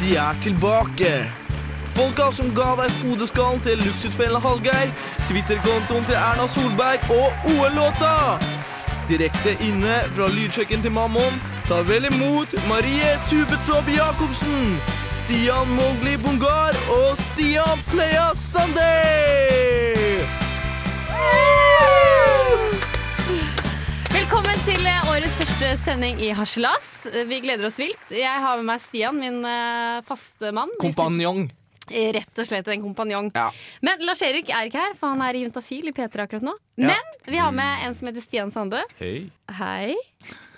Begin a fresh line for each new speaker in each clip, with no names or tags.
De er tilbake. Folka som ga deg hodeskallen til luksusfellen Hallgeir, Twitter-kontoen til Erna Solberg og OL-låta. Direkte inne fra lydsjekken til Mammon, ta vel imot Marie Tubetob Jacobsen, Stian Mowgli Bongar og Stian Pleia Sunday!
Velkommen til eh, årets første sending i Harselas. Eh, Vi gleder oss vilt. Jeg har med meg Stian, min eh, faste mann. Vi
Kompanjong.
sitter- Rett og slett en kompanjong.
Ja.
Men Lars-Erik er ikke her, for han er i Juntafil i P3 akkurat nå.
Ja.
Men vi har med en som heter Stian Sande.
Hei.
Hei.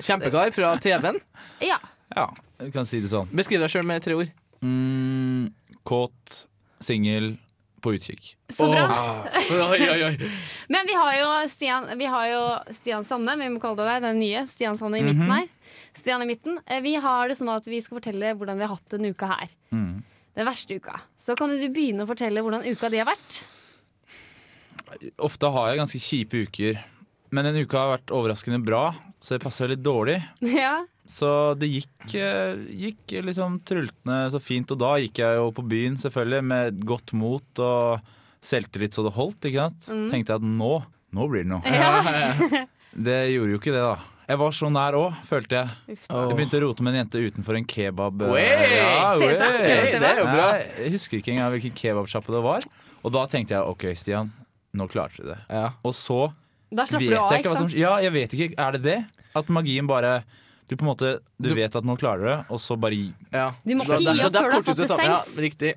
Kjempekar fra TV-en.
Ja.
Ja, du kan si det sånn.
Beskriv deg sjøl med tre ord.
Mm, kåt, singel, på utkikk.
Så bra.
Oi, oi, oi.
Men vi har jo Stian, vi har jo Stian Sande, vi må kalle deg den nye. Stian Sande i
Mhm.
midten her. Stian i midten. Eh, Vi har det sånn at vi skal fortelle hvordan vi har hatt denne uka her.
Mm.
Mhm.
Den verste uka. Så kan du begynne å fortelle hvordan uka di har vært.
Ofte har jeg ganske kjipe uker, men denne uka har vært overraskende bra, så det passer litt dårlig.
Ja.
Så det gikk, eh, gikk liksom trultende så fint, og da gikk jeg jo på byen selvfølgelig med godt mot og selvtillit så det holdt, ikke sant?
Mm.
Tenkte jeg at nå, nå blir det noe. Det gjorde jo ikke det da. Jeg var så nær òg, følte jeg.
Uff
Jeg begynte å rote med en jente utenfor en kebab. eh,
Oi!
Se seg, prøve sånn.
oi.
å se
Det er jo bra.
Nei, jeg husker ikke engang hvilken kebabsjappe det var. Og da tenkte jeg OK, Stian, nå klarte du det.
Ja.
Og så
Da slapper du
vet
av,
jeg ikke
ikke
hva som
sant?
Ja, jeg vet ikke. Er det det? At magien bare Du på en måte Du, vet at nå klarer du det, og så bare
Ja.
Du må
Da-
ikke gi
da-
opp
da-
før du har
kortet
fått
ut sammen.
essens.
Ja, riktig.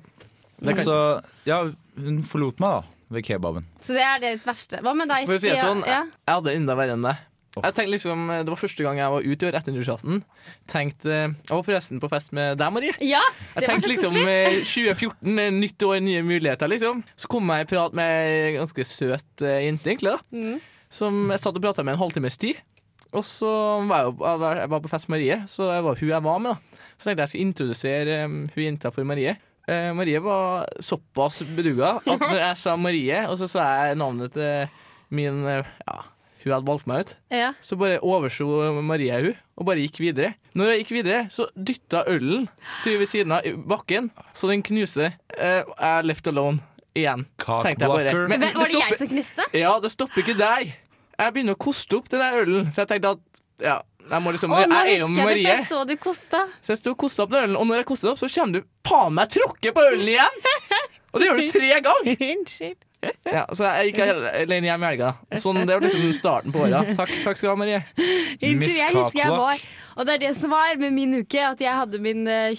Og så Ja, hun forlot meg, da. Ved kebaben.
Så det er ditt verste. Hva med deg,
For å si det
Stian?
sånn,
Ja.
jeg hadde det enda verre enn deg.
Åh.
Jeg tenkte liksom, Det var første gang jeg var ute i år etter nyttårsaften. Tenkte, Jeg var forresten på fest med deg, Marie.
ja,
Jeg
det var
tenkte
så
liksom
koselig.
eh, 2014, eh, nytt år, nye muligheter, liksom. Så kom jeg i prat med ei ganske søt eh, jente, egentlig, da.
Mm.
Som jeg satt og prata med en halvtimes tid. Og så var jeg, jo, jeg var- jeg var på fest med Marie, så jeg var hun jeg var med, da. Så tenkte jeg jeg skulle introdusere eh, hun jenta for Marie. Eh, Marie var såpass beduga at når jeg sa Marie, og så sa jeg navnet til min eh, Ja, hun hadde valgt meg ut.
Ja.
Så bare overslo Maria hun og bare gikk videre. Når jeg gikk videre, så dytta ølen til ved siden av i bakken, så den knuser. Eh, Jeg er left alone igjen. Tenkte jeg bare.
Cockblocker.
Men
Men, var det jeg
stopper,
som kniste?
ja, det stopper ikke der. Jeg begynner å koste opp den der ølen, for jeg tenkte at ja, jeg må liksom
Å, nå
Jeg er jo
husker jeg det, for
Marie.
jeg så du kosta.
Så jeg sto og kosta opp den ølen, og når jeg koster opp, så kommer du faen meg tråkke på ølen igjen! Og det gjør du tre ganger!
Unnskyld.
Ja, så jeg gikk alene hjem i helga. Sånn, det var liksom starten på åra. Takk, takk skal du ha, Marie.
Unnskyld, jeg husker jeg
Kakebakk.
var Og det er det som var med min uke, at jeg hadde min eh,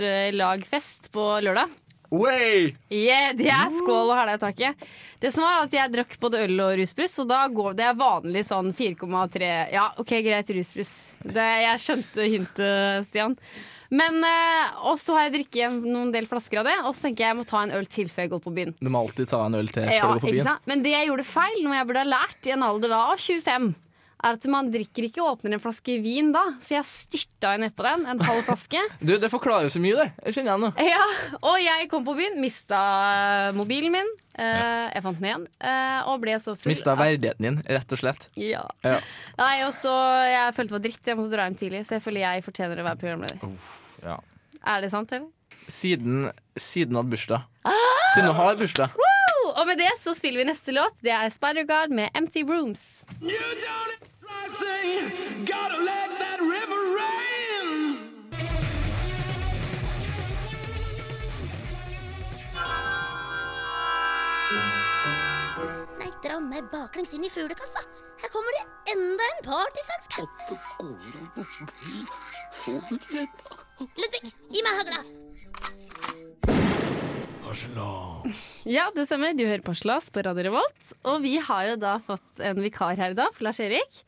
25-årslagfest på lørdag.
Way!
Yeah, det er
Mm.
skål og hæla i taket. Det som var at Jeg drakk både øl og rusbrus, og da går det vanlig sånn 4,3 Ja, OK, greit, rusbrus. Det, jeg skjønte hintet, Stian. Men, eh, Og så har jeg drukket igjen noen del flasker av det, og så tenker jeg jeg må ta en øl til før jeg går på byen.
Du må alltid ta en øl til før
Ja,
du går på
ikke
byen.
sant? Men det jeg gjorde feil, noe jeg burde ha lært i en alder da av 25, er at man drikker ikke og åpner en flaske vin da. Så jeg styrta jo nedpå den, en halv flaske.
Du, Det forklarer jo så mye, det. Jeg kjenner igjen nå.
ja, og jeg kom på byen, mista eh, mobilen min. eh, jeg fant den igjen. eh, og ble så full.
Mista verdigheten din, rett og slett.
Ja.
Ja.
Nei, og så Jeg følte det var dritt, jeg måtte dra hjem tidlig, så jeg føler jeg fortjener å være
Oh.
programleder.
Ja.
Er det sant, eller?
Siden, siden han hadde bursdag.
Ah!
Siden han har bursdag.
Oh, og med det så spiller vi neste låt. Det er Spider-Guard med Empty Rooms.
Nei, dra meg baklengs inn i fuglekassa. Her kommer det enda en partysvensk. Ludvig, gi meg hagla.
Ja, det stemmer. Du hører på Slas på Radio Revolt. Og vi har jo da fått en vikar her i dag, for Lars-Erik.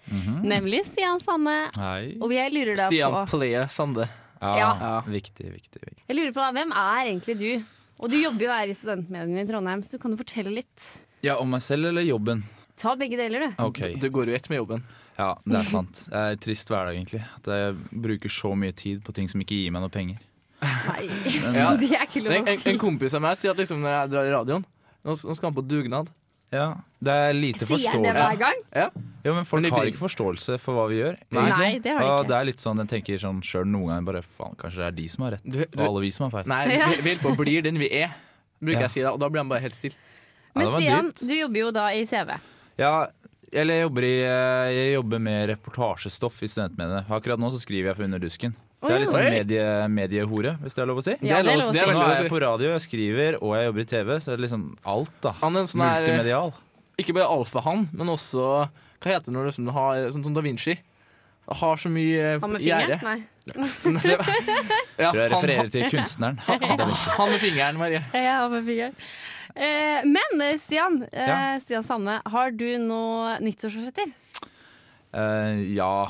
Nemlig Stian Sanne.
Hei.
Og jeg lurer da
Mhm. Stian
på
Player Sande.
Ja,
Ja.
Viktig, viktig. viktig.
Jeg lurer på da, Hvem er egentlig du? Og du jobber jo her i studentmediene i Trondheim, så du kan jo fortelle litt.
Ja, Om meg selv eller jobben?
Ta begge deler, du.
OK.
Du går jo ett med jobben.
Ja, det er sant. Det er en trist hverdag, egentlig. At jeg bruker så mye tid på ting som ikke gir meg noe penger.
Nei,
Men,
det er ikke
En,
lov å
en,
si.
en kompis av meg sier at liksom når jeg drar i radioen Nå, nå skal han på dugnad.
Ja, det er lite
Sier han det
forståelse.
hver gang?
Ja.
Ja, men Folk
Men det
har
blir-
ikke forståelse for hva vi gjør.
Nei,
egentlig.
det har de
Og
ikke.
det er litt sånn, Den tenker sånn sjøl noen ganger bare faen, kanskje det er de som har rett,
Du- du-
og alle vi som har feil.
Nei,
Ja.
vi, vi holder på å blir den vi er, bruker
Ja.
jeg å si da. Og da blir han bare helt stille.
Men
det var
Stian,
dyrt.
du jobber jo da i TV.
Ja, eller jeg jobber, i, eh, jeg jobber med reportasjestoff i studentmediene. Akkurat nå så skriver jeg for Under dusken. Så jeg er litt sånn
Oi.
medie, mediehore, hvis det er lov å si.
Ja, det er lov å
veldig
si.
Nå er jeg
lov å si.
på radio, jeg skriver og jeg jobber i TV, så det er liksom alt, da.
Han er en sånn her-
Multimedial.
Ikke bare alfahann, men også Hva heter det når du liksom har Sånn som Da Vinci. Har så mye eh,
Han med
gjerde.
fingeren? Nei.
Ja,
Tror
han-
jeg refererer til kunstneren.
han, han med fingeren, Marie.
Ja, han med fingeren. Eh, men eh, Stian, eh,
Ja.
Stian Sanne, har du noe nyttårsforsetter?
Eh, ja,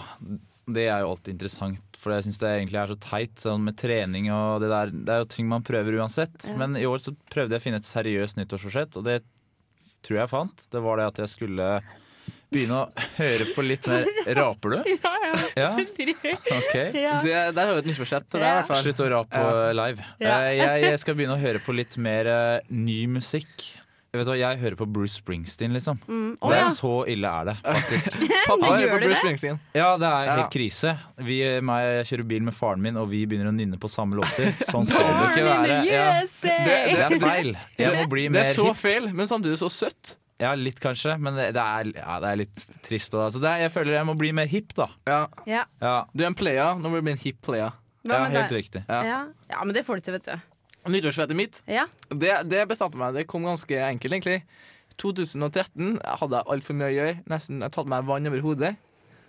det er jo alltid interessant, for jeg syns det egentlig er så teit sånn med trening og det der. Det er jo ting man prøver uansett.
Ja.
Men i år så prøvde jeg å finne et seriøst nyttårsforsett, og det tror jeg fant. Det var det at jeg skulle begynne å høre på litt mer Raper du?
Ja, ja.
Ja, ok.
Det, der har vi et nyttforsett. Det er i
Ja.
hvert fall
Slutt å rape
Ja.
live.
Ja.
Eh, Jeg, jeg skal begynne å høre på litt mer eh, ny musikk. Jeg Vet du hva, Jeg hører på Bruce Springsteen, liksom.
Mm. Å
Det er
ja.
så ille er det, faktisk.
Pappa
Men
hører
gjør
på
det
Bruce
det?
Springsteen.
Ja, det er
Ja.
helt krise. Vi, meg, jeg kjører bil med faren min, og vi begynner å nynne på samme låter. Sånn skal det ikke være. Ja.
USA!
Det,
Det
det,
er feil. Jeg må bli
det
mer
er så
hip.
feil, men samtidig så søtt.
Ja, litt kanskje, men det, det, er, ja, det er litt trist. Og, altså, det er, jeg føler jeg må bli mer hip, da.
Ja.
Ja.
Ja,
Du er en player, nå må du bli en hip player.
Hva
ja
med
helt
deg?
riktig.
Ja.
Ja. ja, men det får du til, vet du.
Nyttårsfettet mitt,
Ja.
det, det bestemte meg. Det kom ganske enkelt, egentlig. 2013 hadde jeg altfor mye å gjøre. Nesten, Jeg tatt meg vann over hodet.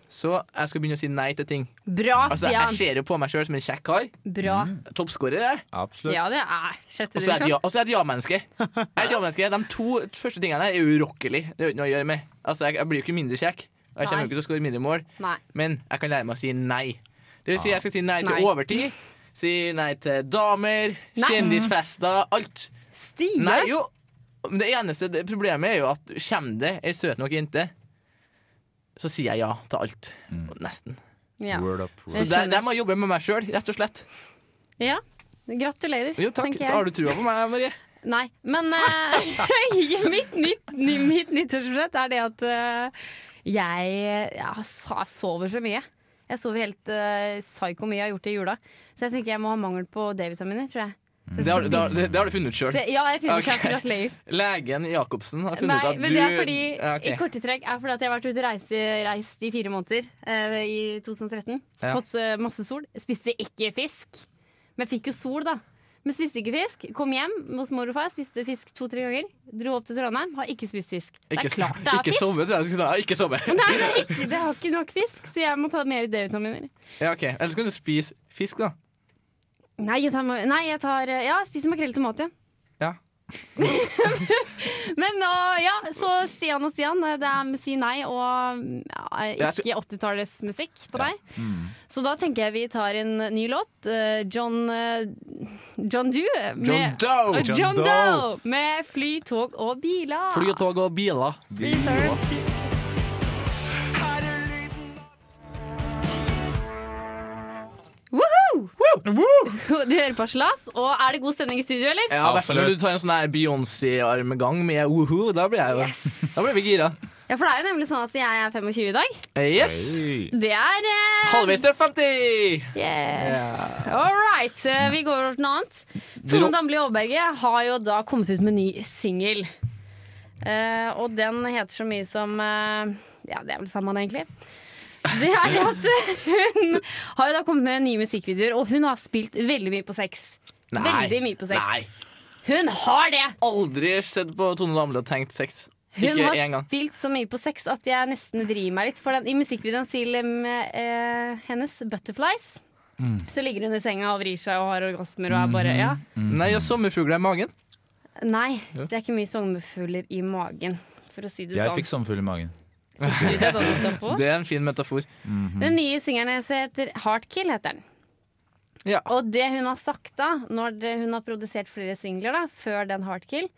Så jeg skal begynne å si nei til ting.
Bra,
Altså, Jeg
Stian.
ser jo på meg sjøl som en kjekk kar.
Bra.
Toppskårer, jeg.
Absolutt.
Ja, det er sjette
Og så er jeg et
divisjon.
ja- og så er jeg et ja-menneske. Jeg er et ja-menneske. De to første tingene her er urokkelig. Det har jo ikke noe å gjøre med. Altså, jeg, jeg blir jo ikke mindre kjekk. Og jeg kommer jo ikke til å skåre mindre mål.
Nei.
Men jeg kan lære meg å si nei. Det vil si, jeg skal si nei til
Nei.
overtid. Si nei til damer,
Nei.
kjendisfester, alt.
Stian!
Nei, jo. Men det eneste det problemet er jo at kommer det ei søt nok jente, så sier jeg ja til alt. Nesten.
Ja.
Word up. Word.
Så
Jeg
der,
skjønner.
der må jeg jobbe med meg sjøl, rett og slett.
ja. Gratulerer,
Jo, takk.
tenker jeg.
Har du trua på meg, Marie?
Nei, men eh, mitt, nytt, ny- mitt nyttårsforsett er det at eh, jeg, jeg sa- sover så mye. Jeg sover helt eh, psyko mye, jeg har gjort det i jula. Så jeg tenker jeg må ha mangel på D-vitaminer, tror jeg. Så jeg
Mm. Det har,
skal
det, har- det, det har du funnet ut sjøl.
spise- ja, jeg finner
Ok.
ikke okay. gratulerer.
Legen Jacobsen har funnet
Nei,
ut at du
men det er fordi,
Ja, ok.
i korte trekk, er fordi at jeg har vært ute og reist, i- reist i fire måneder eh, i 2013.
Ja.
Fått eh, masse sol. Spiste ikke fisk, men fikk jo sol, da. Men spiste ikke fisk. Kom hjem hos mor og far, spiste fisk to-tre ganger. Dro opp til Trondheim, har ikke spist fisk. Det
Ikke,
er klart det er
ikke
fisk!
sove, tror jeg. du skulle ha. Ikke sove.
Nei, det, er ikke, det har ikke nok fisk, så jeg må ta mer D-vitaminer.
Ja, ok. Ellers kan du spise fisk, da.
Nei, jeg tar, ma- nei, jeg tar eh, Ja, jeg spiser makrell i tomat, ja.
Ja.
Men og, ja, så Stian og Stian, eh, det er med si nei og mm, ja,
Jeg
ikke 80-tallsmusikk på deg.
Mm.
Så da tenker jeg vi tar en ny låt. eh, John eh, John Doe med
Doe!
Eh, John Doe med Fly, tog og biler.
Fly og tog og biler.
Fly, tog. Woohoo! Du hører på Slas, og er det god stemning i studio, eller?
Ja, i hvert fall når
Absolutt.
du tar en sånn her Beyoncé-armgang med woohoo, da blir jeg jo Da blir vi gira.
Ja, for det er jo nemlig sånn at jeg er 25 i dag.
Yes!
Hey.
Det er eh,
Halvveis til 50!
Yeah.
Ja.
All right, eh, vi går over til noe annet. Tone Damli Aaberge har jo da kommet ut med en ny singel. Eh, og den heter så mye som eh, Ja, det er vel samme, egentlig. Det er det at hun har jo da kommet med nye musikkvideoer, og hun har spilt veldig mye på sex.
Nei.
Veldig mye på sex.
Nei.
Hun har det!
Aldri sett på Tone Damli og tenkt sex.
Hun
Ikke
har
én gang.
spilt så mye på sex at jeg nesten vrir meg litt. For den, i musikkvideoen til em, eh, hennes 'Butterflies'
Mm.
så ligger hun i senga og vrir seg og har orgasmer og er bare
Mhm.
Ja.
Nei, og sommerfugler i magen.
Nei, det er ikke mye sommerfugler i magen. For å si det
Jeg
sånn.
fikk sommerfugl i magen.
Du vet hva du står på.
Det er en fin metafor.
Den nye singelen hennes heter 'Heartkill'. heter den
Ja.
Og det hun har sagt da, når det, hun har produsert flere singler da, før den 'Heartkill',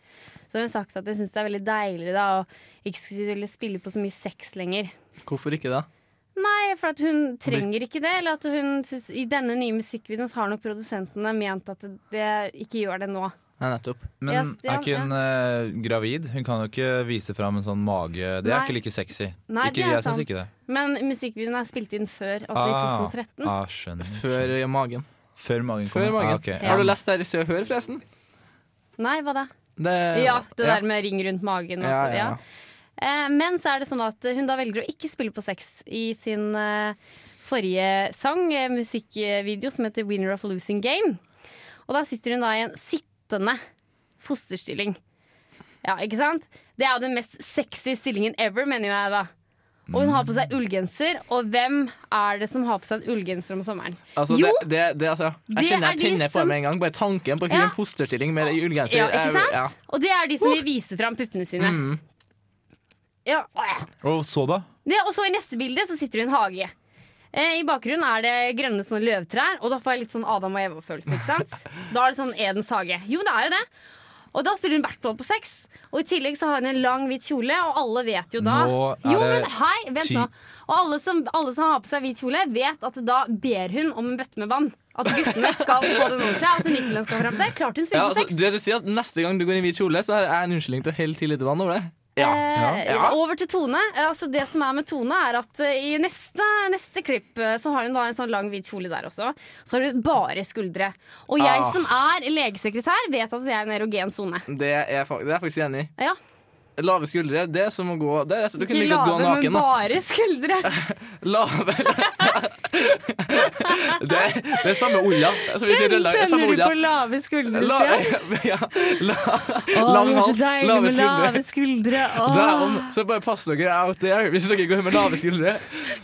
så har hun sagt at jeg syns det er veldig deilig da å ikke skulle spille på så mye sex lenger.
Hvorfor ikke det?
Nei, for at hun trenger ikke det. Eller at hun synes, I denne nye musikkvideoen så har nok produsentene ment at det ikke gjør det nå.
Nei, nettopp.
Men
Ja, Stian,
er ikke hun eh, gravid? Hun kan jo ikke vise fram en sånn mage. Det er
Nei.
ikke like sexy.
Nei,
ikke,
det er
jeg
sant.
syns ikke det.
Men musikkvideoen er spilt inn før, altså
Ah.
i 2013.
Ah, skjønner.
Før eh, magen.
Før magen kom.
Før magen.
Ah, ok.
Har du lest det her i Se og Hør, forresten?
Nei, hva da?
Det,
Ja, det der med ring rundt magen. Og
Ja,
alt det,
ja,
ja. Eh, Men så er det sånn at hun da velger å ikke spille på sex i sin eh, forrige sang, eh, musikkvideo, som heter 'Winner of Losing Game'. Og da sitter hun da i en sittende fosterstilling. Ja, ikke sant? Det er jo den mest sexy stillingen ever, mener jo jeg da. Og hun har på seg ullgenser, og hvem er det som har på seg en ullgenser om sommeren?
Altså,
jo,
Det, det, det, altså,
Det
jeg kjenner
er
jeg
de
tenner på
som-
det med en gang. Bare tanken på hun i
Ja.
en fosterstilling med ullgenser.
ja, ikke
Altså, jeg-
sant?
ja.
Og det er de som vil vise fram puppene sine. Ja, åh.
Og så, da?
Det, og så i neste bilde så sitter hun i en hage. Eh, I bakgrunnen er det grønne sånne løvtrær, og da får jeg litt sånn Adam og Eva-følelse. ikke sant? Da er det sånn Edens hage. Jo, det er jo det. Og da spiller hun Bertbold på sex. Og i tillegg så har hun en lang, hvit kjole, og alle vet jo da
Nå er
Jo,
det
men hei, vent
ty-
nå. Og alle som, alle som har på seg hvit kjole, vet at da ber hun om en bøtte med vann. At guttene skal få den over seg, at Nicolen skal fram til. Klart hun
Ja,
spiller på
altså,
sex.
det du sier at Neste gang du går i hvit kjole, så har jeg en unnskyldning til å helle til litt vann over det.
Eh,
Ja.
Over til Tone. Eh, Altså det som er med Tone, er at eh, i neste, neste klipp eh, så har hun da en sånn lang, hvit kjole der også. Så har hun bare skuldre. Og jeg
Ah.
som er legesekretær, vet at jeg er i en erogen sone.
Det er jeg, fak- det er jeg faktisk enig i.
Ja.
Lave skuldre, det er som å gå det er, Du kunne like godt gå
Lave,
naken.
men
da.
bare skuldre.
Lave det, det er samme Altså, olla. Som vi sier, i Trøndelag, det er samme
Tenner du
olla.
på lave skuldre?
La,
Stian?
ja, la,
Å,
lang
det er så
hals,
deilig
lave
med
skuldre.
Lave skuldre. Åh.
Damn, så bare pass dere out there hvis dere går med lave skuldre.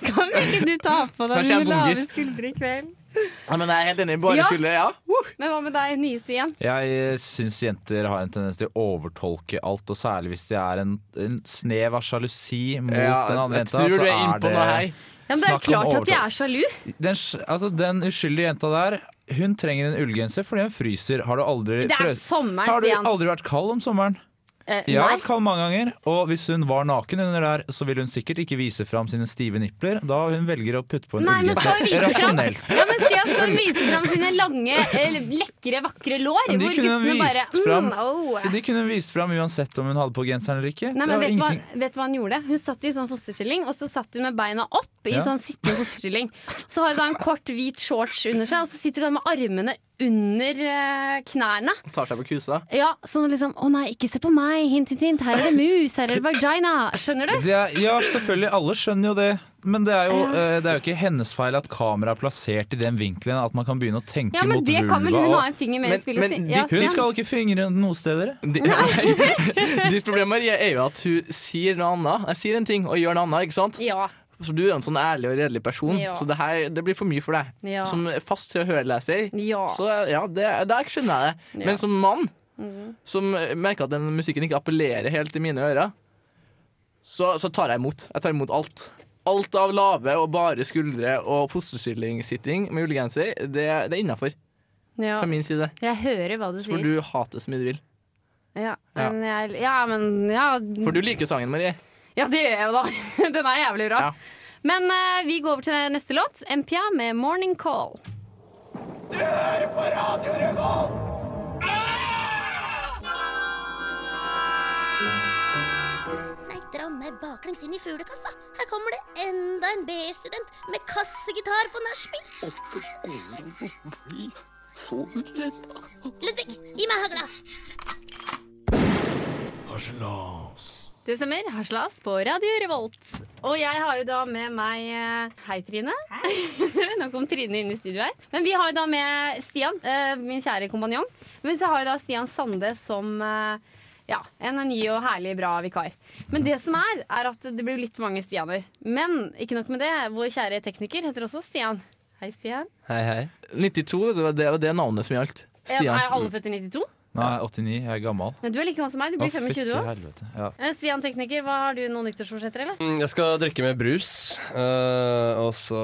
Kan ikke du ta på deg
Kanskje jeg er
noen lave
bongis.
skuldre i kveld?
Ja, men jeg er helt enig. Bare
Ja.
skuldre, ja. Woo.
Men hva med deg, nye Stian?
Jeg eh, syns jenter har en tendens til å overtolke alt, og særlig hvis det er en, en snev av sjalusi mot
Ja,
den andre
jeg
jenta.
tror
så
du er
er
innpå
det-
noe her.
Ja, men det er
Snakk om
klart at jeg
overtolk.
er sjalu.
den, sj- altså, den uskyldige jenta der, hun trenger en ullgenser fordi hun fryser. Har du aldri
Det er
frøs-
sommeren,
Har du
Stian.
aldri vært kald om sommeren?
Eh,
Jeg har
nei.
vært kald mange ganger, og hvis hun var naken under der, så ville hun sikkert ikke vise fram sine stive nipler, da hun velger å putte på en
Nei, men skal vi
ullgenser.
vise fram
Rasjonelt.
Ja, men Stian skal jo vise fram sine lange, eh, lekre, vakre lår.
Men de
Hvor
kunne ha
guttene bare
vist fram-
mm, oh.
De kunne hun vist fram uansett om hun hadde på genseren eller ikke.
Nei,
Det
men
var
vet du, hva,
ingenting-
vet du hva hun gjorde? Hun satt i sånn fosterstilling, og så satt hun med beina opp i
Ja.
sånn sittende fosterstilling. Så har hun da en kort, hvit shorts under seg, og så sitter hun da med armene under eh, knærne.
Tar seg på kusa.
Ja, Sånn liksom Å nei, ikke se på meg! Hint, hint, hint. Her er det mus! Her er det vagina! Skjønner du?
Det er, ja, selvfølgelig. Alle skjønner jo det. Men det er jo, eh, det er jo ikke hennes feil at kameraet er plassert i den vinkelen at man kan begynne å tenke
Ja, men
mot
det kan vel hun
vulva.
ha en finger med i
Men-
spillet
men
sitt?
de-
Ja,
Hun
Stian.
skal ikke fingre noe sted, dere.
De- Ditt problem Marie, er jo at hun sier noe annet. Jeg sier en ting og gjør noe annet. ikke sant?
Ja.
Så Du er en sånn ærlig og redelig person,
Ja.
så det her det blir for mye for deg.
Ja.
Som fast til å høre leser,
Ja.
så ja, det, der skjønner jeg det.
Ja. Mm.
Men som mann, som merker at den musikken ikke appellerer helt til mine ører, så, så tar jeg imot. Jeg tar imot alt. Alt av lave og bare skuldre og fosterstillingssitting med ullgenser, det, det er innafor
ja.
fra min side.
Jeg hører hva du
Så får
sier.
du hate så mye du vil.
Ja, men jeg, ja, men ja,
For du liker sangen, Marie.
Ja, det gjør jeg jo da. Den er jævlig bra.
Ja.
Men eh, vi går over til neste låt. MPA med 'Morning Call'.
Nei, dra meg baklengs inn i fuglekassa. Her kommer det enda en BI-student med kassegitar på nachspiel. Ludvig, gi meg hagla.
Det stemmer. Haslas på Radio Revolt. Og jeg har jo da med meg eh, Hei, Trine. Nå kom Trine inn i studio her. Men vi har jo da med Stian, eh, min kjære kompanjong. Men så har jo da Stian Sande som eh, ja, en ny og herlig bra vikar. Men det som er, er at det blir litt mange Stianer. Men ikke nok med det. Vår kjære tekniker heter også Stian. Hei, Stian.
Hei, hei. 92, det var det, var det navnet som gjaldt.
Stian. Er
Stian.
alle født i 92?
Nei, 89. Jeg er gammel.
Men Du er like gammel som meg. Du blir 25 år.
helvete. Ja.
Eh, Stian tekniker, hva har du noen nyttårsforsetter, eller?
Mm, Jeg skal drikke med brus. eh, og så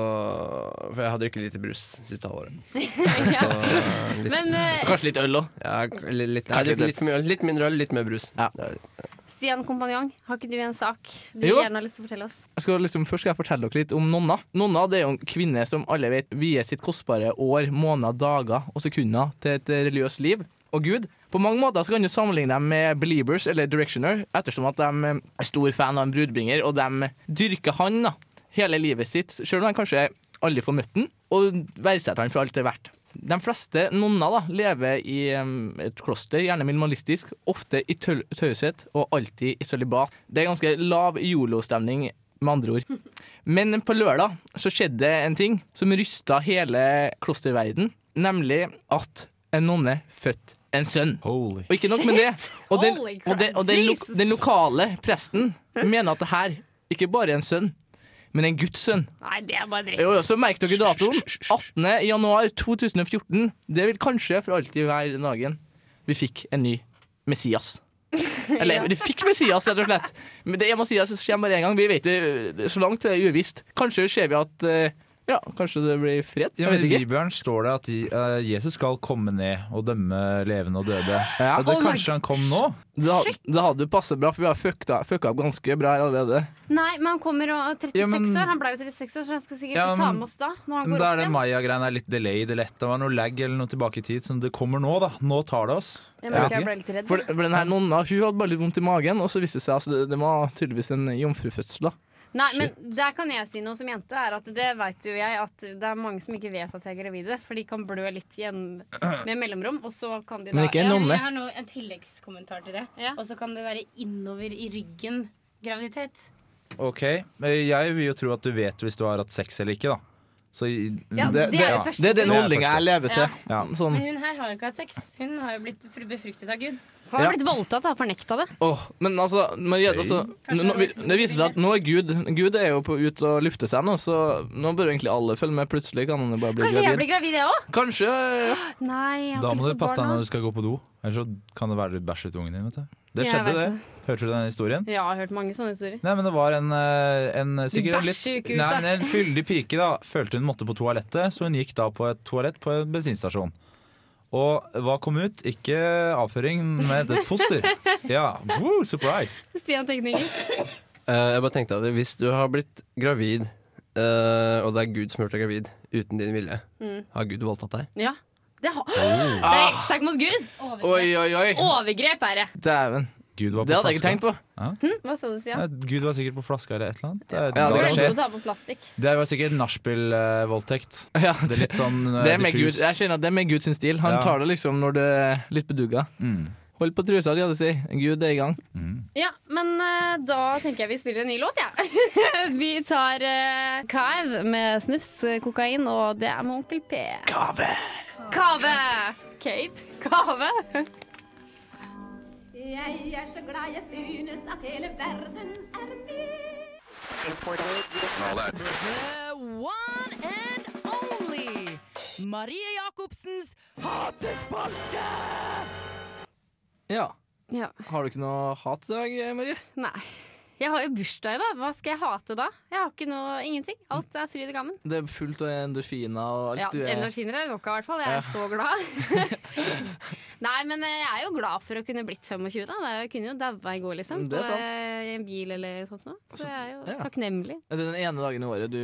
For jeg har drukket lite brus siste halvåret. Så eh, litt,
Men eh,
Kanskje litt øl òg.
ja, litt, litt, nei, jeg
Kanskje
drikker litt for mye øl. Litt mindre øl, litt mer brus.
Ja.
Det er-
Stian kompanjong, har ikke du en sak du
Jo.
gjerne har lyst til å fortelle oss?
jeg skal liksom, først skal jeg fortelle dere litt om nonna. Nonna det er jo en kvinne som alle vet vier sitt kostbare år, måneder, dager og sekunder til et eh, religiøst liv. og Gud. På mange måter så kan du sammenligne dem med Beliebers eller Directioner, ettersom at de eh, er stor fan av en brudbringer, og de dyrker han da, hele livet sitt, selv om de kanskje aldri får møtt han, og verdsetter han for alt det er verdt. De fleste nonner da, lever i eh, et kloster, gjerne minimalistisk, ofte i tøl- taushet og alltid i sølibat. Det er ganske lav jolo-stemning, med andre ord. Men på lørdag så skjedde det en ting som rysta hele klosterverden, nemlig at en nonne fødte en sønn.
Holy.
Og ikke nok med det, og den,
Holy crap.
og den, og den, lo
Jesus.
den lokale presten mener at det her ikke bare er en sønn, men en Guds sønn.
Nei, det er bare dritt.
Jo, jo, så merk dere datoen. 18. januar 2014. Det vil kanskje for alltid være dagen vi fikk en ny Messias. Eller, vi fikk Messias, rett og slett. Men det er Messias som kommer bare én gang. Vi vet det, Så langt er det uvisst. Kanskje ser vi at eh, Ja, kanskje det blir fred? Jeg
Ja, men
vet
I
ikke.
Bibelen står det at eh, Jesus skal komme ned og dømme levende og døde.
Ja.
Og det,
Oh my
kanskje han kom nå?
Det, had- det hadde passet bra, for vi har fucka, fucka opp ganske bra her allerede.
Nei, men han kommer og 36
Ja, men-
år. Han ble jo 36 år, så han skal sikkert
Ja,
ta
men-
med oss da. Når han
Men
går
da
opp
er det
igjen.
Maya-greien er litt delayed eller et. Det var noe lag eller noe tilbake i tid. Som det kommer nå, da. Nå tar det oss.
Jeg, merker
Jeg
jeg
vet
ble litt redd.
For, for den her nonna hun hadde bare litt vondt i magen, og så viste det seg at altså, det, det var tydeligvis en jomfrufødsel. da.
Nei, men der kan jeg si noe som jente, er at det vet jo jeg at det er mange som ikke vet at de er gravide, for de kan blø litt igjen med mellomrom, og så kan de da
Men ikke en
Ja, men
nonne.
Jeg har nå en tilleggskommentar til det.
Ja.
Og så kan det være innover i ryggen graviditet.
Ok, men Jeg vil jo tro at du vet hvis du har hatt sex eller ikke, da. Så i-
Ja,
Det,
det
det,
er det første.
det er den
Det er
holdninga jeg lever til.
Ja.
Sånn,
Men hun her har jo ikke hatt sex. Hun har jo blitt fru- befruktet av Gud.
Han har
Ja.
blitt voldtatt og fornekta det.
Åh, men altså, Maria, altså nå, nå, Det viser seg at nå er Gud Gud er jo på ut og lufte seg nå, så nå bør egentlig alle følge med. Plutselig kan han jo bare bli
Kanskje jeg
gravid.
blir gravid, jeg òg?
Kanskje ja.
Nei, jeg har
Da
ikke
må du
lyst på
passe deg
barn
når
nå.
du skal gå på do. Ellers så kan det være du bæsjer ut ungen din. vet du Det
Jeg
skjedde,
vet
det. Hørte du den historien?
Ja, jeg har hørt mange sånne historier.
Nei, men det var en, eh, en sikkert en
bæsjer
litt
ikke ut,
nei,
da.
men en fyldig pike da Følte hun måtte på toalettet Så hun gikk da på et toalett på en bensinstasjon Og hva kom ut? Ikke avføring, men et foster Ja, woo, surprise
Stian Tekniker.
Eh, jeg bare tenkte at hvis du har blitt gravid, eh, og det er Gud som har gjort deg gravid uten din vilje,
Mm.
har Gud voldtatt deg?
Ja. Det har Nei, sak mot Gud!
Oi, oi, oi.
Overgrep er det.
Dæven.
Gud var på
Det hadde jeg ikke
flaska.
tenkt på.
Hm? Hva sa du, Stian?
Nei, Gud var sikkert på flaska eller et eller annet Det,
Ja,
er-
det
Du
da
kan
glemte
skjer.
å ta på plastikk.
det var sikkert nachspiel-voldtekt
Ja,
Det er litt sånn eh,
det er med Gud,
diffust
jeg kjenner at det er med Gud sin stil. Han
Ja.
tar det liksom når du er litt bedugga.
Mm.
Hold på trusa di, hadde jeg si. Gud er i gang.
Ja, men eh, da tenker jeg vi spiller en ny låt, jeg. Ja. vi tar uh, Kaiv med snufs, eh, kokain, og det er med Onkel P. Kave! Kave! Cave. Kave.
Jeg er så glad jeg synes at hele verden er min.
The one and only Marie Jacobsens hatespalte!
Ja.
Ja.
Har du ikke noe hat i dag, eh, Marie?
Nei. Jeg har jo bursdag i dag. Hva skal jeg hate da? Jeg har ikke noe, ingenting. Alt er fryd og gammen.
Det er fullt av endorfiner og alt
Ja,
du er.
Endorfiner er det nok av, i hvert fall. Jeg er så glad. Nei, men eh, jeg er jo glad for å kunne blitt 25, da. Det er jo- Jeg kunne jo daua i går, liksom.
Mm, Det er
på,
sant. Altså,
eh, I en bil eller sånt noe. Så jeg er jo
ja.
takknemlig.
Er det den ene dagen i året du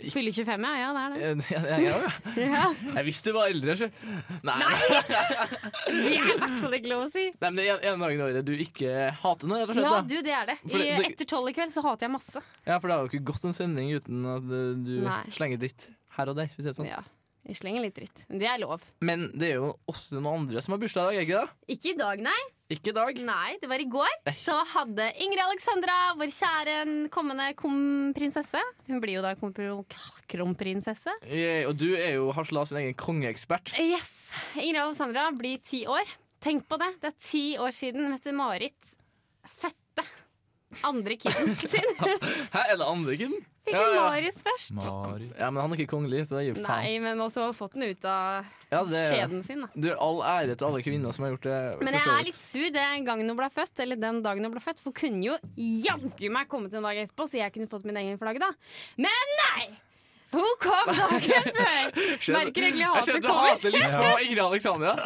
ikke
Fyller 25, ja. Ja, det er det.
Jeg, jeg, jeg visste du var eldre, sjø. Nei.
Det er i hvert fall ikke lov å si.
Nei, men det er en, en dag i året du ikke hater noe, rett og slett.
Ja,
da.
du, det er det.
For det-
I,
det-
etter tolv i kveld så hater jeg masse.
Ja, For det har jo ikke gått en sending uten at eh, du
Nei.
slenger dritt her og der. Hvis det er sånn.
Ja. Jeg slenger litt dritt. Men det er lov.
Men det er jo også noen andre som har bursdag i dag, er ikke det?
Ikke i dag, nei.
Ikke i dag.
Nei, det var i går. Så hadde Ingrid Alexandra, vår kjære kommende kronprinsesse Hun blir jo da kompro- kronprinsesse.
Yay, og du er jo Hasla sin egen kongeekspert.
Yes! Ingrid Alexandra blir ti år. Tenk på det. Det er ti år siden Mette-Marit fødte andre kiden sin.
Hæ, er det andre kiden?
Fikk
Ja,
hun
ja.
Marius først?
Mari.
Ja, men han er ikke kongelig, så det gir faen.
Nei, men også har fått den ut av
Ja, det-
skjeden sin, da.
Du, all ære til alle kvinner som har gjort det.
Men
for
jeg
så
er
vidt.
litt sur den gangen hun ble født, eller den dagen hun ble født. For hun kunne jo jaggu meg kommet en dag etterpå, så jeg kunne fått min egen flagg da. Men nei! Hun kom dagen før! Merker egentlig
Jeg skjønner
hatet
at du
kommer.
hater litt på Ingrid Alexandra.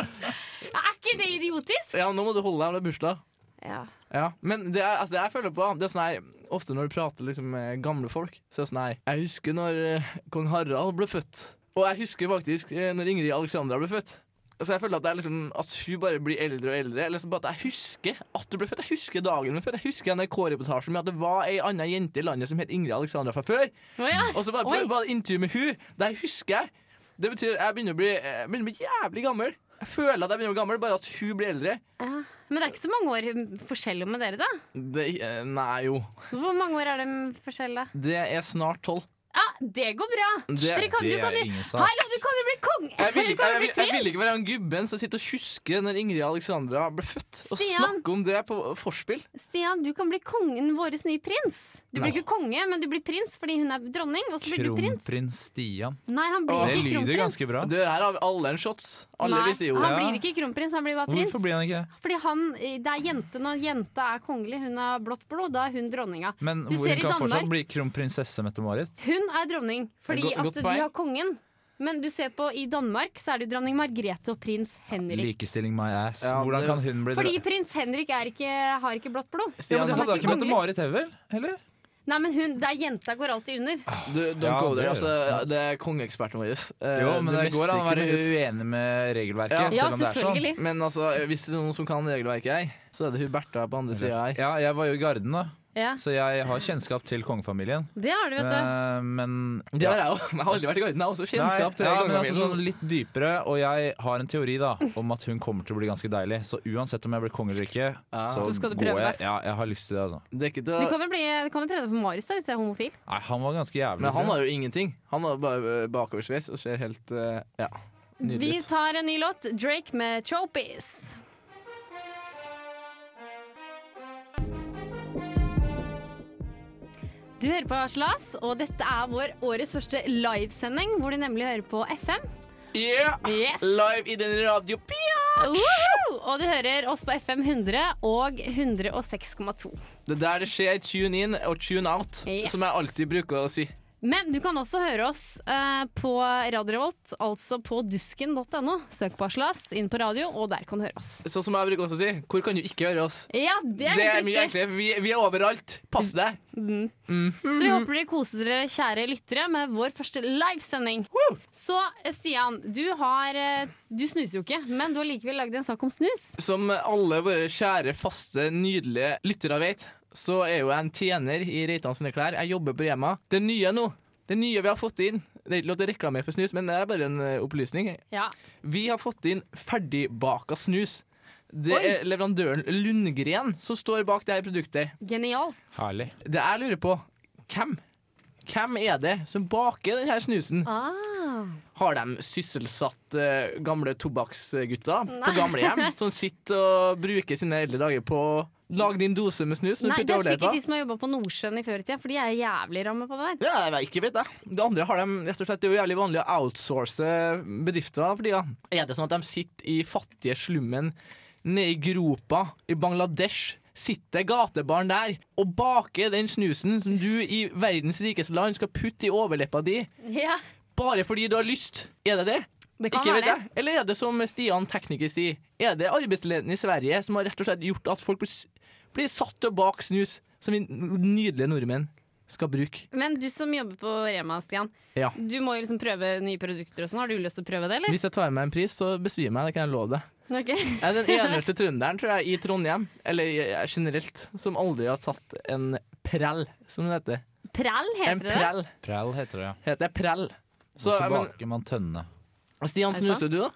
Er ikke det idiotisk?
Ja, nå må du holde deg, det er bursdag.
Ja.
Ja, men det, er, altså, det jeg føler på Det er sånn her, Ofte når du prater liksom, med gamle folk Så er det sånn her Jeg husker når eh, kong Harald ble født Og jeg husker faktisk eh, når Ingrid Alexandra ble født Altså jeg føler at, det er liksom, at hun bare blir eldre og eldre. Eller så bare at jeg husker at hun ble født. Jeg husker dagen hun ble født. Jeg husker NRK-reportasjen med at det var ei anna jente i landet som het Ingrid Alexandra fra før.
Å ja.
Og så var
Oi.
det var det intervju med hun Det husker jeg. Det betyr jeg begynner å bli, jeg begynner å bli jævlig gammel. Jeg føler at jeg begynner å bli gammel, bare at hun blir eldre.
Ja. Men det er ikke så mange år forskjell med dere, da?
Det, eh, nei, jo.
Hvor mange år er det forskjell, da?
Det er snart tolv.
Ja, det går bra!
Det-
dere kan,
det
du kan
er
jo
ingen sak.
Hallo, du kan jo bli kong!
Jeg vil,
Du
ikke,
kan
jeg,
jo
vil,
bli
jeg vil
prins!
ikke være han gubben som sitter og husker når Ingrid Alexandra ble født, og
Stian.
snakke om det på forspill.
Stian, du kan bli kongen vår nye prins. Du blir ikke konge, men du blir prins fordi hun er dronning. Og så blir du prins.
Kronprins Stian.
Nei, han blir
Det
ikke
lyder
kronprins.
ganske bra.
Du, her har vi alle en shots. Alle
Nei,
visste jo
han
Ja.
blir ikke kronprins, han blir bare prins.
Hvorfor blir han ikke det?
Fordi han, det er jente når jenta er kongelig, hun er blått blod, da er hun dronninga.
Men
Du
hvor
ser i
hun kan fortsatt
Danmark.
bli kronprinsesse Mette-Marit.
Hun er dronning fordi
Godt- godt
at du
poeng.
har kongen. Men du ser på i Danmark, så er det dronning Margrethe og prins Henrik.
Likestilling my ass.
Ja,
Hvordan
det-
kan hun bli
Fordi
dronning?
prins Henrik er ikke, har ikke blått blod.
Ja, men
Stian,
han
det
er
hadde da
ikke
ikke
kongelig.
Mette-Marit heller? Eller?
Nei, men hun, det er jenta går alltid
Ah,
under.
Du, don't
Ja,
go
det
there.
gjør
Altså,
det. Ja.
det er kongeeksperten vår. Eh,
Jo, men
du
det går
messer
an å
ikke
være
med gutt.
uenig med regelverket,
Ja.
Ja,
selv om det er sånn.
selvfølgelig.
Men altså, hvis det er noen som kan regelverket her, så er det hun Bertha på andre sida her.
Ja, jeg var jo i garden, da,
Ja,
så jeg har kjennskap til kongefamilien.
det har du, vet du.
Eh, Men
Det har jeg òg. Jeg har aldri vært i Garden. Jeg har også kjennskap til
Nei, ja, men altså, sånn
kongefamilien.
litt dypere, og jeg har en teori da om at hun kommer til å bli ganske deilig. Så uansett om jeg blir konge eller ikke,
Ja.
så
Så skal du
går
prøve
jeg. Ja, jeg har lyst til det. Altså.
Det er ikke
Du
det.
kan jo, bli, kan jo prøve deg på Marius da, hvis du er homofil.
Nei, han var ganske jævlig.
Men han har jo ingenting. Han har bare eh, bakoversveis og ser helt eh, ja,
Vi
nydelig ut.
tar en ny låt, Drake med 'Trophies'. Du hører på Slas, og dette er vår årets første livesending, hvor du nemlig hører på FM.
Yeah!
Yes!
Live i den radio...
Woohoo! Og du hører oss på FM 100 og 106,2.
Det er der det skjer. Tune in og tune out,
Yes.
som jeg alltid bruker å si.
Men du kan også høre oss eh, på Radio Revolt, altså på dusken.no. Søk på Slas inn på radio, og der kan du høre oss.
Sånn som jeg bruker også å si. Hvor kan du ikke høre oss?
Ja, det er,
Det er
helt
mye
riktig.
enklere. Vi, vi er overalt. Pass deg.
Så vi håper dere koser dere, kjære lyttere, med vår første livesending. Så eh, Stian, du har eh, Du snuser jo ikke, men du har likevel lagd en sak om snus.
Som alle våre kjære, faste, nydelige lyttere vet, så er jo jeg en tjener i Reitan sine klær. Jeg jobber på Rema. Det nye nå, det nye vi har fått inn Det er ikke lov til å reklamere for snus, men det er bare en eh, opplysning.
Ja.
Vi har fått inn ferdigbaka snus. Det
Oi.
er leverandøren Lundgren som står bak det her produktet.
Genialt.
Herlig.
Det jeg lurer på, hvem? Hvem er det som baker denne snusen?
Ah.
Har de sysselsatt eh, gamle tobakksgutter på gamlehjem som sitter og bruker sine eldre dager på å lage din dose med snus?
Nei, det er sikkert de
de
som har jobba på Nordsjøen i før i tida, for de er jævlig ramme på det der.
ja, jeg vet ikke, vet jeg. Det andre har de rett og slett, det er jo jævlig vanlig å outsource eh, bedrifter for tida. Er det sånn at de sitter i fattige slummen nede i gropa i Bangladesh? Sitter gatebarn der og baker den snusen som du i verdens rikeste land skal putte i overleppa di
Ja.
bare fordi du har lyst? Er det det?
Det kan
ikke
være
vet
det.
jeg. Eller er det som Stian tekniker sier, er det arbeidsledigheten i Sverige som har rett og slett gjort at folk blir, s- blir satt til å bake snus, som vi nydelige nordmenn skal bruke?
Men du som jobber på Rema, Stian.
Ja.
Du må jo liksom prøve nye produkter og sånn. Har du lyst til å prøve det, eller?
Hvis jeg tar med en pris, så besvimer jeg, det kan jeg love deg.
Ok.
Jeg er den eneste trønderen, tror jeg, i Trondheim, eller i- generelt, som aldri har tatt en prell, som det heter.
Prell
En
heter det.
prell
Præl heter det, ja.
heter prell.
Så,
Så, men,
baker man tønne.
Stian,
det sant?
snuser du, da?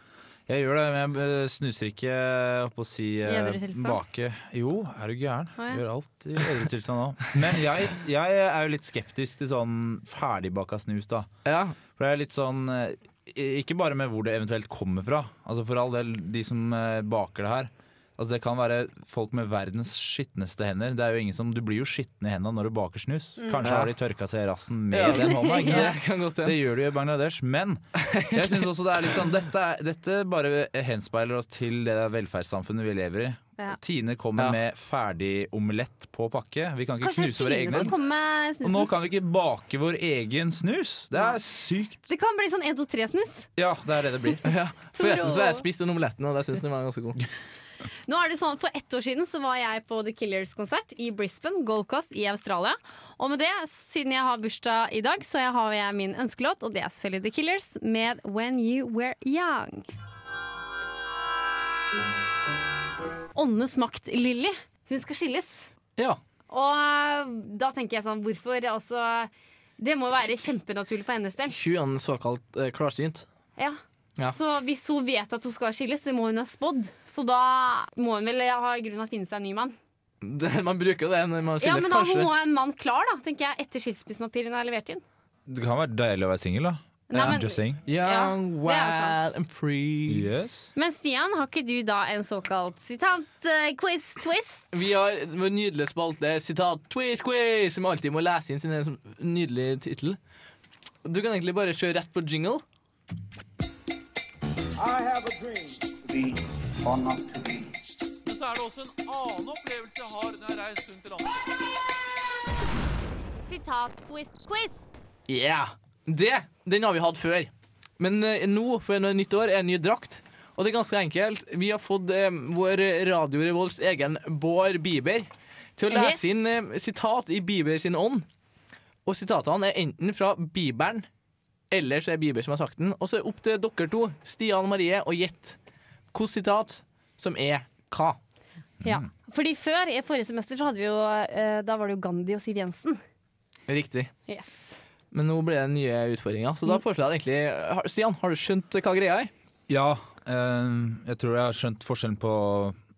Jeg gjør det, men jeg eh, snuser ikke jeg holdt på å si eh,
I edru tilstand?
bake. Jo, er du gæren?
ja.
Gjør alt i edru tilstand nå. Men jeg, jeg er jo litt skeptisk til sånn ferdigbaka snus, da.
Ja.
For det er litt sånn eh, Ikke bare med hvor det eventuelt kommer fra. Altså For all del, de som eh, baker det her. Altså Det kan være folk med verdens skitneste hender. Det er jo ingen som, Du blir jo skitten i hendene når du baker snus.
Mm.
Kanskje har de tørka seg i rassen med
Ja.
den hånda. Ikke
Det
det?
kan godt
Det
hende.
gjør du jo i Bangladesh, men jeg synes også det er litt sånn dette, er, dette bare henspeiler oss til det der velferdssamfunnet vi lever i.
Ja.
Tine kommer
Ja.
med ferdig omelett på pakke. Vi kan ikke
Kanskje det
knuse
er
våre
Tine
egne.
som kommer med
Og nå
snusen.
kan vi ikke bake vår egen snus! Det er sykt.
Det kan bli sånn 1, 2, 3-snus.
Ja, det er det det blir.
Ja. Forresten så har jeg spist den omeletten, og det syns den var ganske god.
Nå er det sånn, For ett år siden så var jeg på The Killers konsert i Brisbane, Gold Coast i Australia. Og med det, siden jeg har bursdag i dag, så jeg har jeg min ønskelåt, og det er selvfølgelig The Killers med When You Were Young. Åndenes makt, Lilly. Hun skal skilles.
Ja.
Og eh, da tenker jeg sånn, hvorfor altså Det må være kjempenaturlig for hennes del.
Hun er en såkalt eh, klarsynt.
Ja.
Ja.
Så hvis hun vet at hun skal skilles, det må hun ha spådd. Så da må hun vel ha grunn til å finne seg en ny mann.
Det, man bruker jo det når man
Ja,
skilles,
men da
kanskje.
må hun ha en mann klar, da, tenker jeg, etter skilsmissepapirene er levert inn.
Det kan være deilig å være singel, da. Eh,
Nei, men-
Just saying.
Ja,
Young,
det er sant.
wild and free.
Yes.
Men Stian, har ikke du da en såkalt eh, sitat-quiz-twist?
Vi har vår nydelige spalte sitat quiz quiz, som alltid må lese inn sin egen som- nydelige tittel. Du kan egentlig bare kjøre rett på jingle.
Så er det også en annen opplevelse jeg har når jeg reiser rundt i landet.
Sitat-twist-quiz.
Yeah. Det, den har vi hatt før. Men eh, nå, for noe nytt år, er en ny drakt. Og det er ganske enkelt. Vi har fått eh, vår Radio Revolts egen Bård Bieber til å
Yes.
lese inn eh, sitat i Bieber sin ånd. Og sitatene er enten fra Bibelen, eller så er Bieber som har sagt den. Og så er det opp til dere to, Stian Marie og Gjett, hvilket sitat som er hva.
Ja.
Mm.
Fordi før, i forrige semester, så hadde vi jo eh, Da var det jo Gandhi og Siv Jensen.
Riktig.
Yes.
Men nå ble det nye utfordringer, så da foreslår jeg egentlig har- Stian, har du skjønt hva greia er?
Ja, eh, jeg tror jeg har skjønt forskjellen på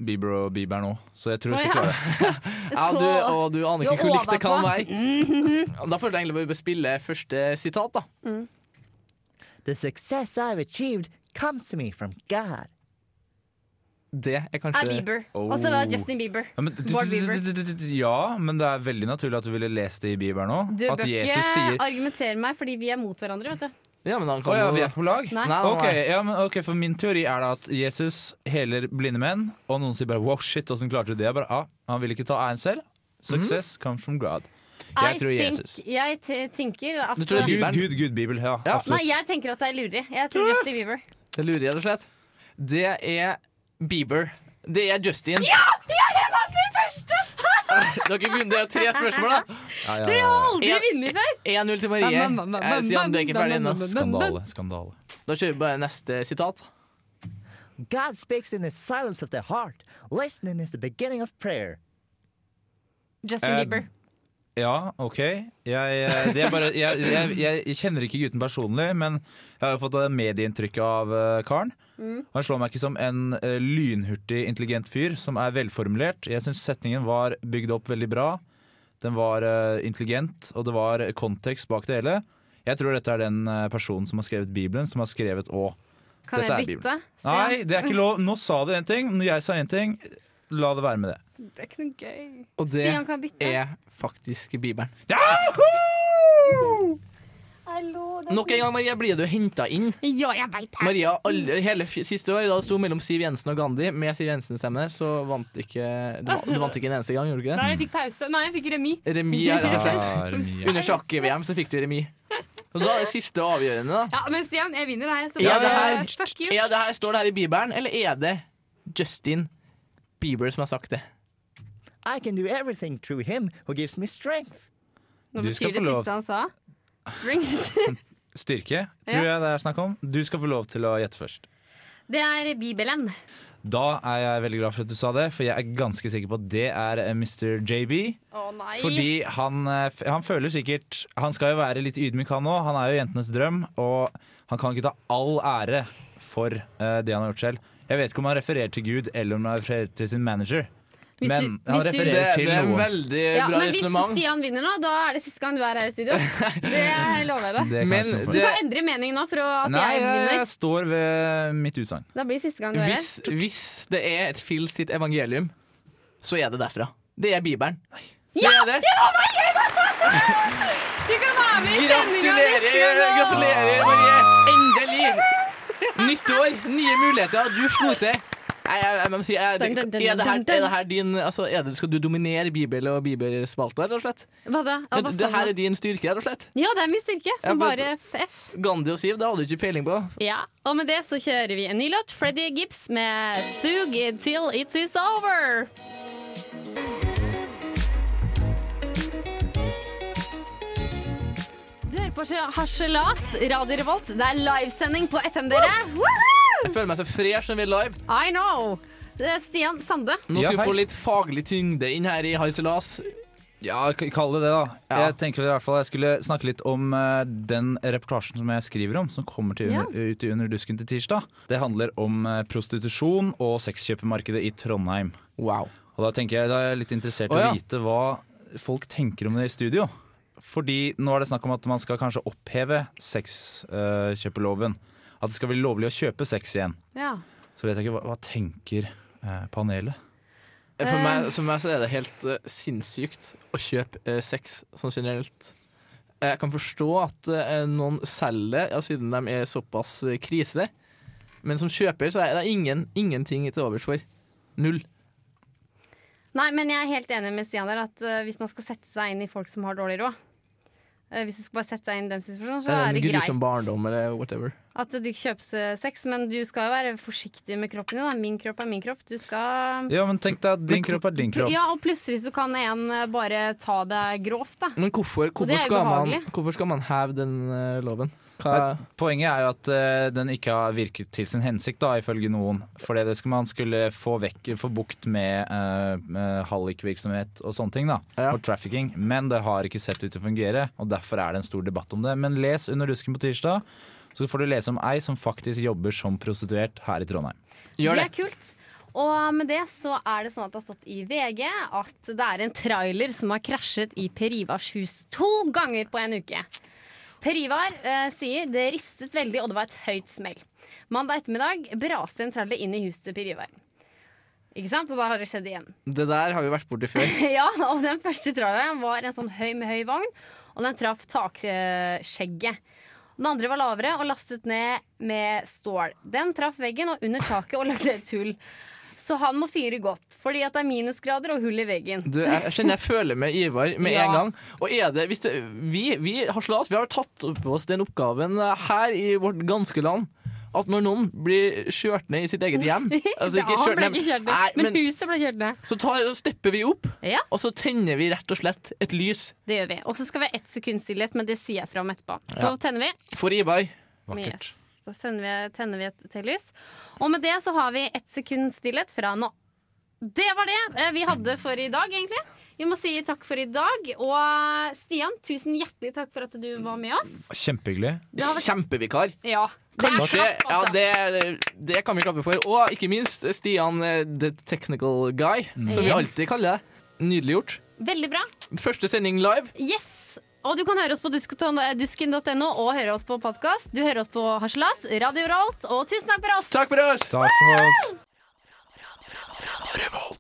Bieber og Bieber nå, så jeg tror
Å,
jeg skal
ja.
klare det.
Ja,
Så- Mhm.
du, og du aner
Du
ikke hvor likt det kan
overpå.
være. Da får du egentlig bare spille første sitat, da.
The success I've achieved comes to me from God.
Det er kanskje
Er Bieber. Og så var det Justin Bieber.
Ja men,
Bård Bieber.
ja, men det er veldig naturlig at du ville lest det i Bieber nå.
Du
At
bør ikke
Jesus sier
argumentere meg, fordi vi er mot hverandre, vet du.
Ja, men han
Å
kan
ja,
jo
vi er på lag?
Nei.
Nei, nei,
Ok,
nei.
ja, men, ok, for min teori er da at Jesus heler blinde menn, og noen sier bare 'wow, shit, åssen klarte du det?' Jeg bare, ah, han vil ikke ta æren selv. Success comes from God. Jeg
I
tror
think-
Jesus.
Jeg te- tenker at
Du tror det er
Gud,
Bibelen?
Gud, Gud, Bibel. Ja,
Ja.
absolutt.
Nei, jeg tenker at det er lureri. Jeg tror Justin Bieber.
Det lurer jeg rett og slett. Det er Bieber. Det er Justin. Dere begynner, det er tre spørsmål, da.
Ja, ja,
Jeg
ja.
har aldri
Jeg-
vunnet før!
1-0 til Marie.
Bam, bam, bam,
Eh, Stian, du er ikke
bam,
ferdig
bam,
ennå.
bam, bam.
Skandale, skandale.
Da kjører vi bare neste sitat.
God speaks in the silence of the heart. Listening is the beginning of prayer.
Justin
Eh,
Bieber.
Ja, OK. Jeg, eh, det er bare, jeg, jeg, jeg kjenner ikke gutten personlig, men jeg har jo fått eh, medieinntrykk av eh, karen. Han slår meg ikke som en eh, lynhurtig, intelligent fyr som er velformulert. Jeg syns setningen var bygd opp veldig bra. Den var eh, intelligent, og det var kontekst bak det hele. Jeg tror dette er den eh, personen som har skrevet Bibelen, som har skrevet Å.
Kan
dette
jeg
er
bytte? Stian?
Nei, det er ikke lov. Nå sa du én ting, når jeg sa én ting. La det være med det.
Det er ikke noe gøy.
Og det
Stian kan bytte.
er faktisk Bibelen.
Hallo, det er-
Nok en gang, Marie, blir du henta inn.
Ja, jeg veit det!
Maria, alle, hele f- siste år, da det sto mellom Siv Jensen og Gandhi, med Siv Jensens stemme, så vant ikke Du, va- du vant ikke en eneste gang, gjorde du ikke det?
Nei, jeg fikk pause. Nei, jeg fikk remis.
Remis, ja, rett og slett.
Ah, Remi, ja.
Under sjakk-VM så fikk du remis. Og da er det siste og avgjørende, da.
Ja, men Stian, jeg vinner her. Så
Ja,
bare
det
fuck you.
Er det her, står det her i Bibelen, eller er det Justin Bieber som har sagt det?
I can do everything through him who gives me strength.
Nå
Du skal
betyr det
få lov.
siste han sa. Strength.
Styrke, tror jeg det er snakk om. Du skal få lov til å gjette først.
Det er Bibelen.
Da er jeg veldig glad for at du sa det, for jeg er ganske sikker på at det er eh, Mr. JB.
Å nei.
Fordi han, eh, f- han føler sikkert Han skal jo være litt ydmyk, han òg. Han er jo jentenes drøm, og han kan ikke ta all ære for eh, det han har gjort selv. Jeg vet ikke om han refererer til Gud eller om han refererer til sin manager.
Hvis du-
Men
hvis
han
du-
Det,
refererer
det
til
er en
noe.
veldig
ja,
eh, bra
men hvis
resonnement.
Stian vinner nå, da er det siste gang du er her i studio. Det lover jeg deg.
Det kan jeg
Men
ikke noe for.
Du
det-
kan endre mening nå for å- at
Nei,
jeg
jeg,
vinner.
jeg står ved mitt utsagn.
Da blir det siste gang du er her.
Hvis, hvis det er et Phil sitt evangelium, så er det derfra. Det er Bibelen. Det er det.
Du kan være med i sendinga neste
Gratulerer,
gang! da!
gratulerer, Marie! Endelig! Nytt år, nye muligheter. Du slo til. Nei, jeg, jeg, må si, er, det, er, det her, er det her din altså, er det, Skal du dominere Bibel og bibelspalta, rett og slett?
Hva da? Ja, hva
Det, det
sa
her
du?
er din styrke, rett og slett?
Ja, det er min styrke.
Ja,
Som
men-
bare f.
Gandhi og Siv, det hadde du ikke peiling på.
Ja, og med det så kjører vi en ny låt. Freddy Gibbs med 'Boogie Till It Is Over'. Du hører på Harselas, Radio Revolt. Det er livesending på FM, dere. Woohoo!
Jeg føler meg så fresh når vi er live.
I know! Det er Stian Sande.
Nå skal
Ja,
vi få
hei.
litt faglig tyngde inn her i Haiselas.
Ja, k- kall det det, da.
Ja.
Jeg tenker i hvert fall jeg skulle snakke litt om eh, den reportasjen som jeg skriver om, som kommer til under, ut i Under dusken til tirsdag. Det handler om eh, prostitusjon og sexkjøpemarkedet i Trondheim.
Wow.
Og da, tenker jeg, da er jeg litt interessert i
Å,
å
ja.
vite hva folk tenker om det i studio. Fordi nå er det snakk om at man skal kanskje oppheve sexkjøpeloven. at det skal bli lovlig å kjøpe sex igjen.
Ja.
Så vet jeg ikke, hva, hva tenker eh, panelet?
For meg, for meg så er det helt eh, sinnssykt å kjøpe eh, sex sånn generelt. Eh, Jeg kan forstå at eh, noen selger, ja, siden de er såpass eh, krise. Men som kjøper så er det ingen, ingenting til overs for. Null.
Nei, men jeg er helt enig med Stian der at eh, hvis man skal sette seg inn i folk som har dårlig råd eh, Hvis du skal bare sette deg inn i deres situasjon, så
Det
er
er en
det greit
grusom barndom eller whatever.
at du ikke kjøper se- sex, men du skal jo være forsiktig med kroppen din. Da. Min kropp er min kropp. Du skal
Ja, men tenk deg at din kropp er din kropp.
Ja, og plutselig så kan en eh, bare ta det grovt, da.
Men hvorfor,
Og
hvorfor,
det er
skal, man,
ubehagelig.
hvorfor skal man heve den eh, loven? Hva,
Nei, Poenget er jo at eh, den ikke har virket til sin hensikt, da, ifølge noen. Fordi det skal man skulle få, vekk, få bukt med eh, med hallikvirksomhet og sånne ting. da,
Ja.
Og trafficking. Men det har ikke sett ut til å fungere, og derfor er det en stor debatt om det. Men les Under dusken på tirsdag, så får du lese om ei som faktisk jobber som prostituert her i Trondheim.
gjør
Det
det.
er kult. Og med det så er det sånn at det har stått i VG at det er en trailer som har krasjet i Per Ivars hus to ganger på en uke. Per Ivar eh, sier det ristet veldig, og det var et høyt smell. Mandag ettermiddag braste en trailer inn i huset til Per Ivar. Ikke sant? Og da har det skjedd igjen.
Det der har vi vært borti før.
ja, og den første traileren var en sånn høy med høy vogn, og den traff takskjegget. Den andre var lavere og lastet ned med stål. Den traff veggen og under taket og lagde et hull. Så han må fyre godt, fordi at det er minusgrader og hull i veggen.
Du, jeg, jeg kjenner jeg føler med Ivar med
Ja.
en gang. Og er det, hvis det vi, vi har slått, vi har tatt på oss den oppgaven her i vårt ganske land. At når noen blir kjørt ned i sitt eget hjem altså
Ja,
ikke
han
kjørt
ble
ned,
ikke kjørt ned,
nei,
men,
men
huset ble kjørt ned.
Så tar, så stepper vi opp,
Ja,
og så tenner vi rett og slett et lys
det gjør vi. Og så skal vi ha ett sekunds stillhet, men det sier jeg fra om etterpå. Så
Ja.
tenner vi.
for Ivar.
Yes. Da sender vi, tenner vi et tellys. Og med det så har vi ett sekunds stillhet fra nå. Det var det eh, vi hadde for i dag, egentlig. Vi må si takk for i dag. Og Stian, tusen hjertelig takk for at du var med oss.
Kjempehyggelig.
Det har vært
Kjempevikar.
Ja. Det er
Kanskje,
klapp,
ja,
altså.
det, det kan vi klappe for. Og ikke minst Stian, eh, the technical guy, som vi
Yes.
alltid kaller det. Nydelig gjort.
Veldig bra.
Første sending live.
Yes! Og du kan høre oss på dusken- dusken.no og høre oss på podkast. Du hører oss på Harselas, Radio Rolt, og tusen takk for oss!
Takk for oss!
Takk for oss.
Revolt.